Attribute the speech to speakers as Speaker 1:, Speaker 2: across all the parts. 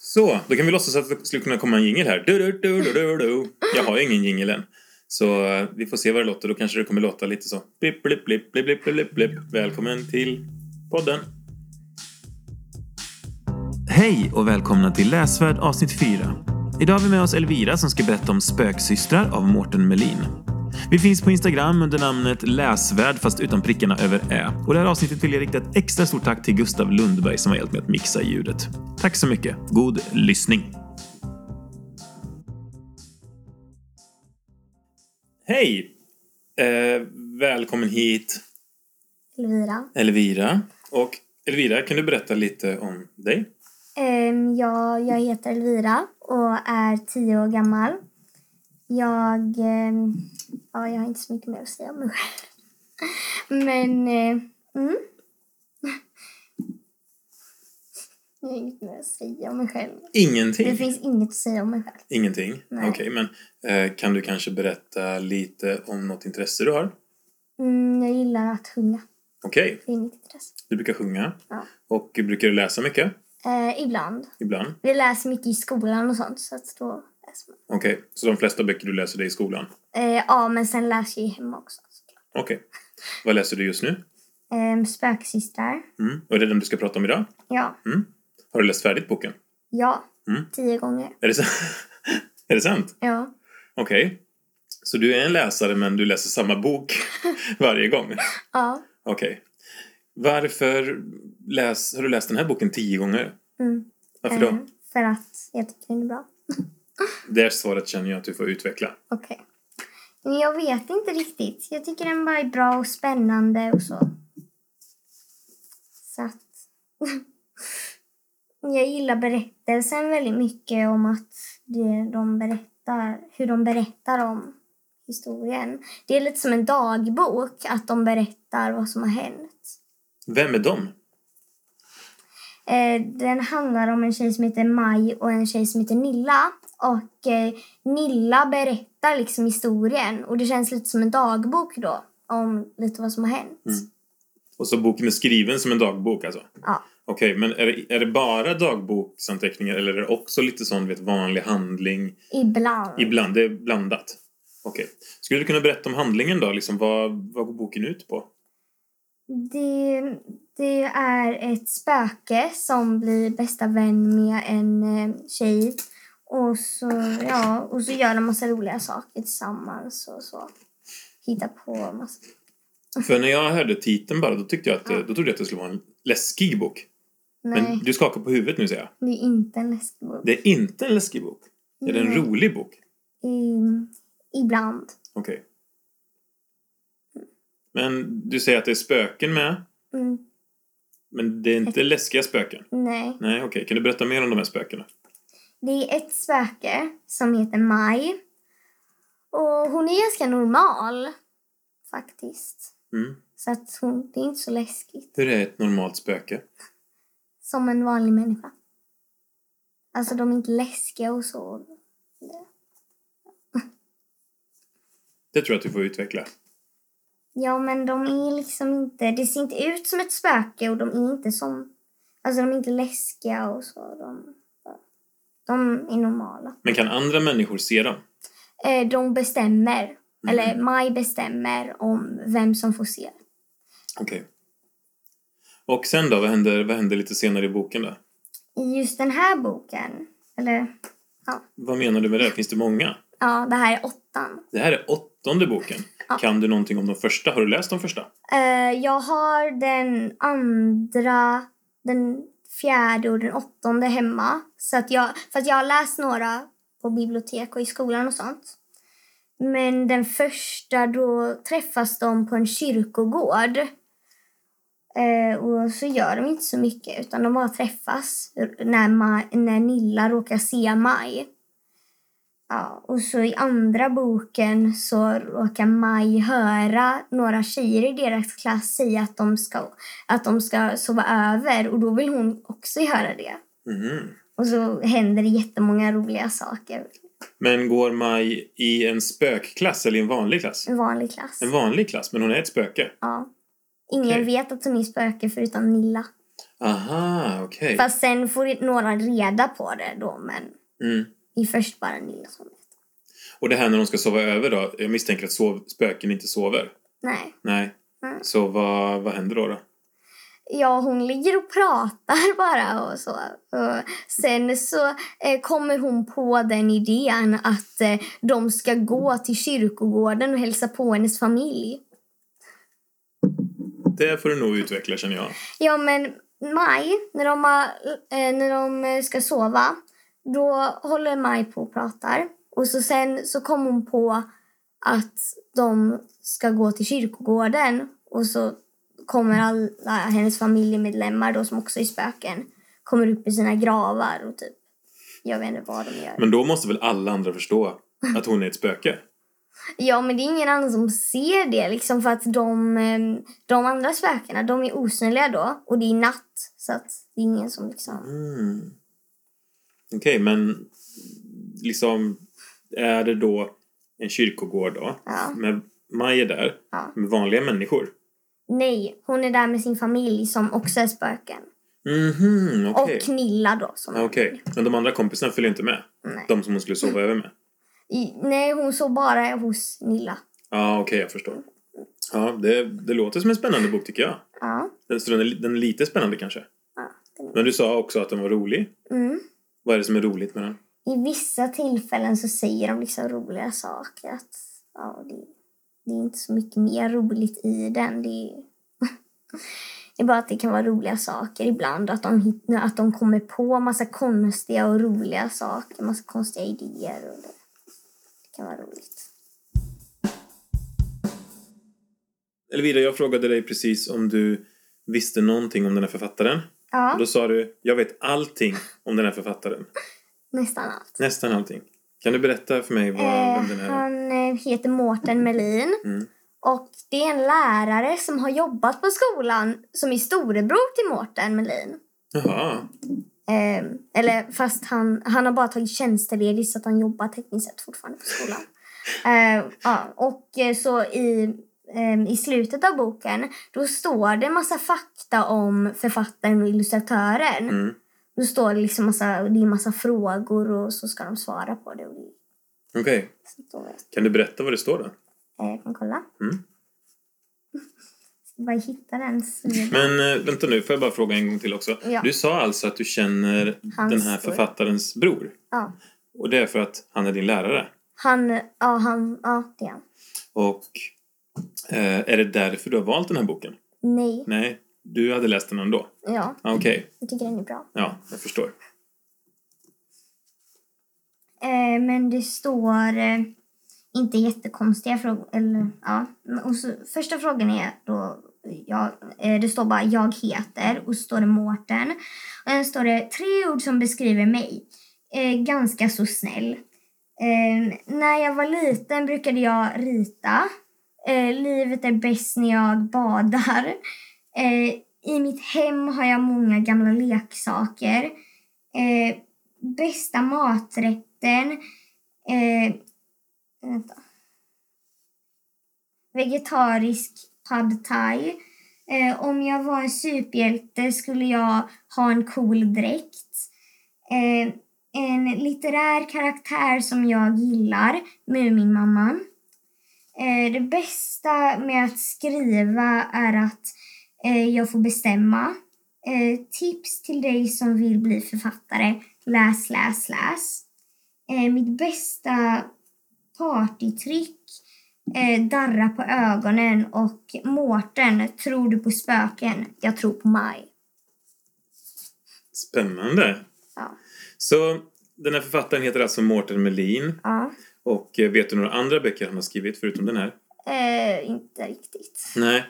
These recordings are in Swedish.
Speaker 1: Så, då kan vi låtsas att det skulle kunna komma en jingel här. Du, du, du, du, du, du. Jag har ju ingen jingel än. Så eh, vi får se vad det låter. Då kanske det kommer låta lite så. Blipp, blipp, blipp, blipp, blipp, blipp, blipp. Välkommen till podden. Hej och välkomna till Läsvärd avsnitt 4. Idag har vi med oss Elvira som ska berätta om Spöksystrar av Mårten Melin. Vi finns på Instagram under namnet Läsvärd fast utan prickarna över ä. Och det här avsnittet vill jag rikta ett extra stort tack till Gustav Lundberg som har hjälpt mig att mixa ljudet. Tack så mycket. God lyssning. Hej! Eh, välkommen hit
Speaker 2: Elvira.
Speaker 1: Elvira. Och Elvira, kan du berätta lite om dig?
Speaker 2: Ehm, ja, jag heter Elvira och är tio år gammal. Jag, ehm, ja, jag har inte så mycket mer att säga om mig själv. Men, eh, mm. Jag har inget mer att säga om mig själv.
Speaker 1: Ingenting.
Speaker 2: Det finns inget att säga om mig själv.
Speaker 1: Ingenting? Okej,
Speaker 2: Nej.
Speaker 1: men eh, kan du kanske berätta lite om något intresse du har?
Speaker 2: Mm, jag gillar att sjunga.
Speaker 1: Okej,
Speaker 2: Det är mitt intresse.
Speaker 1: du brukar sjunga.
Speaker 2: Ja.
Speaker 1: Och brukar du läsa mycket?
Speaker 2: Eh, ibland.
Speaker 1: Ibland?
Speaker 2: Vi läser mycket i skolan och sånt, så att då läser man.
Speaker 1: Okej, så de flesta böcker du läser det i skolan?
Speaker 2: Eh, ja, men sen läser jag ju hemma också. såklart.
Speaker 1: Okej. Vad läser du just nu?
Speaker 2: Ehm, spöksystrar.
Speaker 1: Mm. Och är det den du ska prata om idag?
Speaker 2: Ja.
Speaker 1: Har du läst färdigt boken?
Speaker 2: Ja,
Speaker 1: Mm.
Speaker 2: tio gånger.
Speaker 1: Är det, sant? är det sant?
Speaker 2: Ja.
Speaker 1: Okej. Så du är en läsare men du läser samma bok varje gång?
Speaker 2: ja.
Speaker 1: Okej. Varför läs, har du läst den här boken tio gånger?
Speaker 2: Mm.
Speaker 1: Varför då?
Speaker 2: Eh, för att jag tycker den är bra.
Speaker 1: Det svaret känner jag att du får utveckla.
Speaker 2: Okej. Men jag vet inte riktigt. Jag tycker den bara är bra och spännande och så. Så att... jag gillar berättelsen väldigt mycket om att det de berättar, hur de berättar om historien. Det är lite som en dagbok, att de berättar vad som har hänt.
Speaker 1: Vem är de?
Speaker 2: Eh, den handlar om en tjej som heter Maj och en tjej som heter Nilla. Och eh, Nilla berättar liksom historien och det känns lite som en dagbok då. Om lite vad som har hänt.
Speaker 1: Mm. Och så boken är skriven som en dagbok alltså?
Speaker 2: Ja.
Speaker 1: Okej, men är det, är det bara dagboksanteckningar eller är det också lite sån vet, vanlig handling?
Speaker 2: Ibland.
Speaker 1: Ibland, det är blandat. Okej. Skulle du kunna berätta om handlingen då? Liksom, vad, vad går boken ut på?
Speaker 2: Det, det är ett spöke som blir bästa vän med en eh, tjej. Och så, ja, och så gör de massa roliga saker tillsammans och så. Hittar på massa.
Speaker 1: För när jag hörde titeln bara, då, tyckte jag att,
Speaker 2: Ja.
Speaker 1: då trodde jag att det skulle vara en läskig bok.
Speaker 2: Nej,
Speaker 1: Men du skakar på huvudet nu ser jag.
Speaker 2: det är inte en läskig bok.
Speaker 1: Det är inte en läskig bok. Är det en
Speaker 2: Nej.
Speaker 1: rolig bok?
Speaker 2: Mm, ibland.
Speaker 1: Okej. Men du säger att det är spöken med,
Speaker 2: Mm,
Speaker 1: men det är inte läskiga spöken?
Speaker 2: nej.
Speaker 1: Nej, okej. Kan du berätta mer om de här spökena?
Speaker 2: Det är ett spöke som heter Maj. Och hon är ganska normal, faktiskt.
Speaker 1: Mm.
Speaker 2: Så att hon, det är inte så läskigt.
Speaker 1: Hur är ett normalt spöke?
Speaker 2: Som en vanlig människa. Alltså, de är inte läskiga och så.
Speaker 1: Det tror jag att du får utveckla.
Speaker 2: Ja, men de är liksom inte... Det ser inte ut som ett spöke och de är inte som... Alltså, de är inte läskiga och så. De, de är normala.
Speaker 1: Men kan andra människor se dem?
Speaker 2: Eh, de bestämmer, eller Maj bestämmer om vem som får se.
Speaker 1: Okej. Och sen då? Vad händer, vad händer lite senare i boken då?
Speaker 2: i just den här boken, eller
Speaker 1: Vad menar du med det? Finns det många?
Speaker 2: ja, det här är åttan.
Speaker 1: Det här är åttonde boken.
Speaker 2: Ja.
Speaker 1: Kan du någonting om de första? Har du läst de första?
Speaker 2: Eh, jag har den andra, den fjärde och den åttonde hemma. Så att jag, för att jag har läst några på bibliotek och i skolan och sånt. Men den första, då träffas de på en kyrkogård. Eh, och så gör de inte så mycket, utan de bara träffas när, Ma- när Nilla råkar se Maj. Ja, och så i andra boken så råkar Maj höra några tjejer i deras klass säga att de ska, att de ska sova över och då vill hon också göra det.
Speaker 1: Mhm.
Speaker 2: Och så händer det jättemånga roliga saker
Speaker 1: Men går Maj i en spökklass eller i en vanlig klass?
Speaker 2: i en vanlig klass.
Speaker 1: En vanlig klass, men hon är ett spöke.
Speaker 2: Ja. Ingen
Speaker 1: Okej.
Speaker 2: vet att hon är spöke förutom Nilla.
Speaker 1: Aha, okej.
Speaker 2: Fast sen får några reda på det då, men
Speaker 1: Mm.
Speaker 2: det är först bara ni som vet.
Speaker 1: Och det här när de ska sova över då? Jag misstänker att sov, spöken inte sover.
Speaker 2: Nej.
Speaker 1: Nej.
Speaker 2: Mm.
Speaker 1: Så vad, vad händer då? då?
Speaker 2: Ja, hon ligger och pratar bara och så. Och sen så eh, kommer hon på den idén att eh, de ska gå till kyrkogården och hälsa på hennes familj.
Speaker 1: Det får du nog utveckla känner jag.
Speaker 2: Ja, men Maj, när de, har, eh, när de eh, ska sova, då håller Maj på och pratar. Och så sen så kom hon på att de ska gå till kyrkogården och så kommer alla hennes familjemedlemmar då som också är spöken kommer upp i sina gravar och typ jag vet inte vad de gör.
Speaker 1: Men då måste väl alla andra förstå att hon är ett spöke?
Speaker 2: Ja, men det är ingen annan som ser det liksom för att de, eh, de andra spökena de är osynliga då och det är natt så att det är ingen som liksom
Speaker 1: Mm. Okej, men liksom är det då en kyrkogård då?
Speaker 2: Ja.
Speaker 1: Med Maj är där,
Speaker 2: Ja.
Speaker 1: med vanliga människor?
Speaker 2: Nej, hon är där med sin familj som också är spöken.
Speaker 1: Mhm, okej.
Speaker 2: Och Nilla då. Som
Speaker 1: Okej, men de andra kompisarna följer inte med?
Speaker 2: Nej.
Speaker 1: De som hon skulle sova över med?
Speaker 2: I, nej, hon sov bara hos Nilla.
Speaker 1: Ja, okej, jag förstår. Ja, det, det låter som en spännande bok tycker jag.
Speaker 2: Ja.
Speaker 1: Den, så den, är, li- den är lite spännande kanske.
Speaker 2: ja. det-
Speaker 1: Men du sa också att den var rolig.
Speaker 2: Mm.
Speaker 1: Vad är det som är roligt med den?
Speaker 2: I vissa tillfällen så säger de liksom roliga saker. Att, ja, det, det är inte så mycket mer roligt i den. Det är, det är bara att det kan vara roliga saker ibland. Att de, hit- att de kommer på massa konstiga och roliga saker. Massa konstiga idéer. Och det, det kan vara roligt.
Speaker 1: Elvira, jag frågade dig precis om du visste någonting om den här författaren.
Speaker 2: Ja,
Speaker 1: Då sa du, jag vet allting om den här författaren.
Speaker 2: nästan allt.
Speaker 1: Nästan allting. Kan du berätta för mig vad,
Speaker 2: Eh,
Speaker 1: vem den är?
Speaker 2: han eh, heter Mårten Melin.
Speaker 1: Mm.
Speaker 2: Och det är en lärare som har jobbat på skolan som är storebror till Mårten Melin.
Speaker 1: Jaha.
Speaker 2: Eh, eller fast han, han har bara tagit tjänstledigt så att han jobbar tekniskt sett fortfarande på skolan. Eh, ja, och eh, så i, eh, i slutet av boken då står det massa fakta om författaren och illustratören.
Speaker 1: Mm.
Speaker 2: Då står det liksom massa, det är massa frågor och så ska de svara på det. Och det
Speaker 1: Okej.
Speaker 2: så då vet
Speaker 1: Kan du berätta vad det står då?
Speaker 2: Eh, Jag kan kolla.
Speaker 1: Mm.
Speaker 2: Ska bara hitta den sidan.
Speaker 1: Men eh, vänta nu, får jag bara fråga en gång till också?
Speaker 2: Ja.
Speaker 1: Du sa alltså att du känner
Speaker 2: Hans
Speaker 1: den här
Speaker 2: bror.
Speaker 1: författarens bror?
Speaker 2: Ja.
Speaker 1: Och det är för att han är din lärare?
Speaker 2: Han, ja han, ja det är han.
Speaker 1: Och eh, är det därför du har valt den här boken?
Speaker 2: Nej.
Speaker 1: Nej, du hade läst den ändå?
Speaker 2: Ja,
Speaker 1: Ah, Okej,
Speaker 2: jag tycker den är bra.
Speaker 1: ja, jag förstår.
Speaker 2: Eh, men det står eh, inte jättekonstiga frågor. Eller, ja. Men- Och så, första frågan är då, ja, eh, det står bara jag heter och så står det Mårten. Och sen står det tre ord som beskriver mig. Eh, ganska så snäll. Eh, när jag var liten brukade jag rita. Eh, livet är bäst när jag badar. Eh, I mitt hem har jag många gamla leksaker. Eh, bästa maträtten. Eh, vänta. Vegetarisk pad thai. Eh, om jag var en superhjälte skulle jag ha en cool dräkt. Eh, en litterär karaktär som jag gillar, Muminmamman. Eh, det bästa med att skriva är att eh, jag får bestämma. Eh, tips till dig som vill bli författare. Läs, läs, läs. Eh, mitt bästa partytrick. Eh, darra på ögonen och Mårten, tror du på spöken? Jag tror på Maj.
Speaker 1: Spännande!
Speaker 2: Ja.
Speaker 1: Så den här författaren heter alltså Mårten Melin.
Speaker 2: ja.
Speaker 1: Och eh, vet du några andra böcker han har skrivit förutom den här?
Speaker 2: Eh, inte riktigt.
Speaker 1: Nej.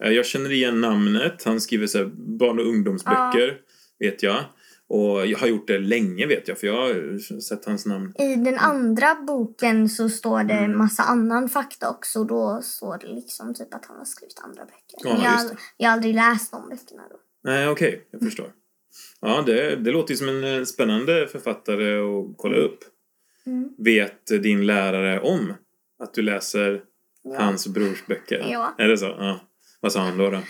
Speaker 1: Eh, Jag känner igen namnet. Han skriver så här barn och ungdomsböcker, vet jag. Och jag har gjort det länge, vet jag, för jag har eh, sett hans namn.
Speaker 2: I den andra boken så står det
Speaker 1: Mm.
Speaker 2: en massa annan fakta också. Och då står det liksom typ att han har skrivit andra böcker.
Speaker 1: Ja,
Speaker 2: Men jag,
Speaker 1: just det.
Speaker 2: jag har aldrig läst de böckerna då.
Speaker 1: Nej, okej, jag förstår. Ja, det, det låter ju som en eh, spännande författare att kolla upp.
Speaker 2: Mm.
Speaker 1: Vet din lärare om att du läser
Speaker 2: Ja.
Speaker 1: hans brors böcker?
Speaker 2: Ja.
Speaker 1: Är det så? Ja. Vad sa han då? då?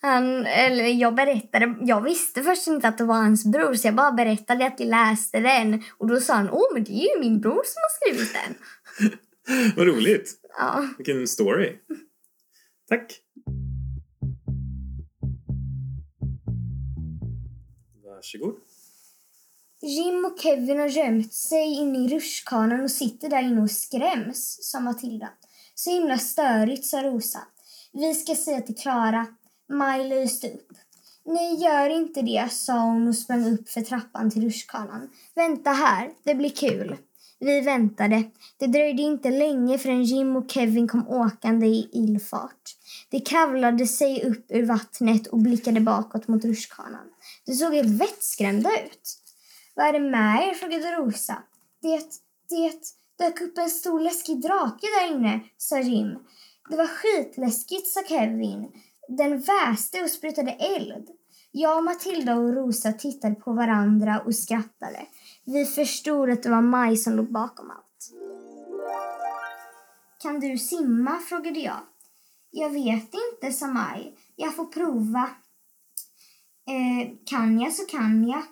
Speaker 2: Han, eller jag berättade, jag visste först inte att det var hans bror så jag bara berättade att jag läste den och då sa han åh men det är ju min bror som har skrivit den.
Speaker 1: Vad roligt!
Speaker 2: Ja,
Speaker 1: Vilken story. Tack. Varsågod.
Speaker 2: Jim och Kevin har gömt sig inne i rutschkanan och sitter där inne och skräms, sa Matilda. Så himla störigt, sa Rosa. Vi ska säga till Klara. Maj lyste upp. Nej, gör inte det, sa hon och sprang upp för trappan till rutschkanan. Vänta här, det blir kul. Vi väntade. Det dröjde inte länge förrän Jim och Kevin kom åkande i illfart. De kravlade sig upp ur vattnet och blickade bakåt mot rutschkanan. De såg helt vettskrämda ut. Vad är det med er? frågade Rosa. Det, det dök upp en stor läskig drake där inne, sa Jim. Det var skitläskigt, sa Kevin. Den väste och sprutade eld. Jag, Matilda och Rosa tittade på varandra och skrattade. Vi förstod att det var Maj som låg bakom allt. Kan du simma? frågade jag. Jag vet inte, sa Maj. Jag får prova. Eh, kan jag så kan jag.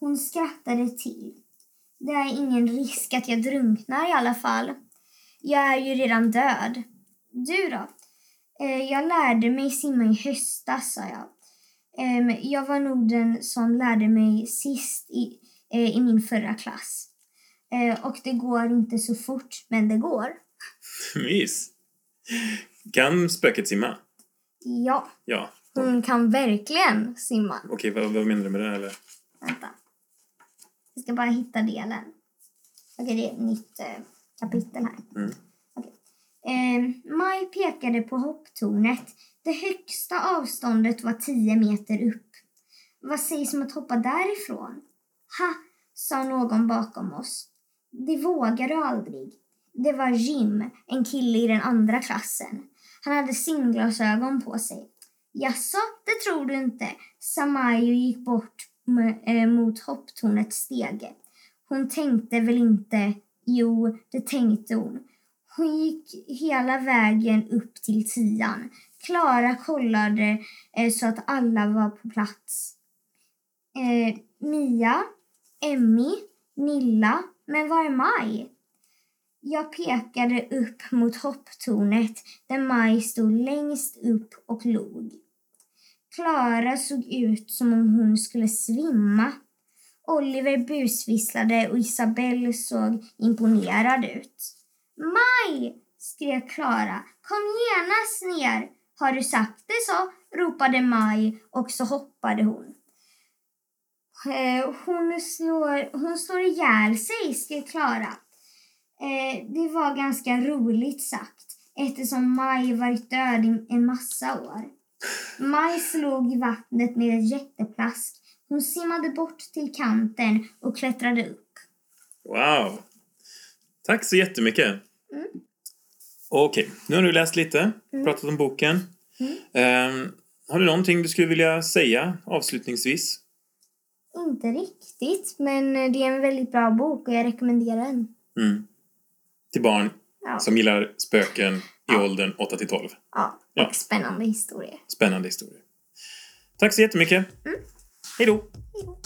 Speaker 2: Hon skrattade till. Det är ingen risk att jag drunknar i alla fall. Jag är ju redan död. Du då? Eh, jag lärde mig simma i höstas, sa jag. Ehm, jag var nog den som lärde mig sist i, eh, i min förra klass. Eh, och det går inte så fort, men det går.
Speaker 1: Mys. Kan spöket simma?
Speaker 2: Ja,
Speaker 1: Ja.
Speaker 2: hon kan verkligen simma.
Speaker 1: Okej, vad, vad menar du med det? här, Eller?
Speaker 2: Vänta. Jag ska bara hitta delen. Okej, det är ett nytt eh, kapitel här.
Speaker 1: Mm.
Speaker 2: Okej. Eh, Maj pekade på hopptornet. Det högsta avståndet var 10 meter upp. Vad sägs om att hoppa därifrån? Ha, sa någon bakom oss. Det vågar du aldrig. Det var Jim, en kille i den andra klassen. Han hade simglasögon på sig. Jaså, det tror du inte? sa Maj och gick bort m- eh, mot hopptornets stege. Hon tänkte väl inte... Jo, det tänkte hon. Hon gick hela vägen upp till tian. Klara kollade eh, så att alla var på plats. Eh, Mia, Emmy, Nilla, men var är Maj? Jag pekade upp mot hopptornet där Maj stod längst upp och log. Klara såg ut som om hon skulle svimma. Oliver busvisslade och Isabelle såg imponerad ut. Maj! skrek Klara. Kom genast ner! Har du sagt det så? ropade Maj och så hoppade hon. Eh, Hon slår, hon slår ihjäl sig, skrek Klara. Eh, det var ganska roligt sagt eftersom Maj varit död i en massa år. Maj slog i vattnet med ett jätteplask. Hon simmade bort till kanten och klättrade upp.
Speaker 1: Wow! Tack så jättemycket.
Speaker 2: Mm.
Speaker 1: Okej, nu har du läst lite, pratat om boken.
Speaker 2: Mm.
Speaker 1: Ehm, har du någonting du skulle vilja säga avslutningsvis?
Speaker 2: Inte riktigt, men det är en väldigt bra bok och jag rekommenderar den.
Speaker 1: Mm. Till barn
Speaker 2: Ja,
Speaker 1: som gillar spöken i
Speaker 2: Ja.
Speaker 1: åldern 8 till 12.
Speaker 2: ja.
Speaker 1: Ja.
Speaker 2: och spännande historier. Mm.
Speaker 1: Spännande historier. Tack så jättemycket. Hej då!
Speaker 2: Hej då.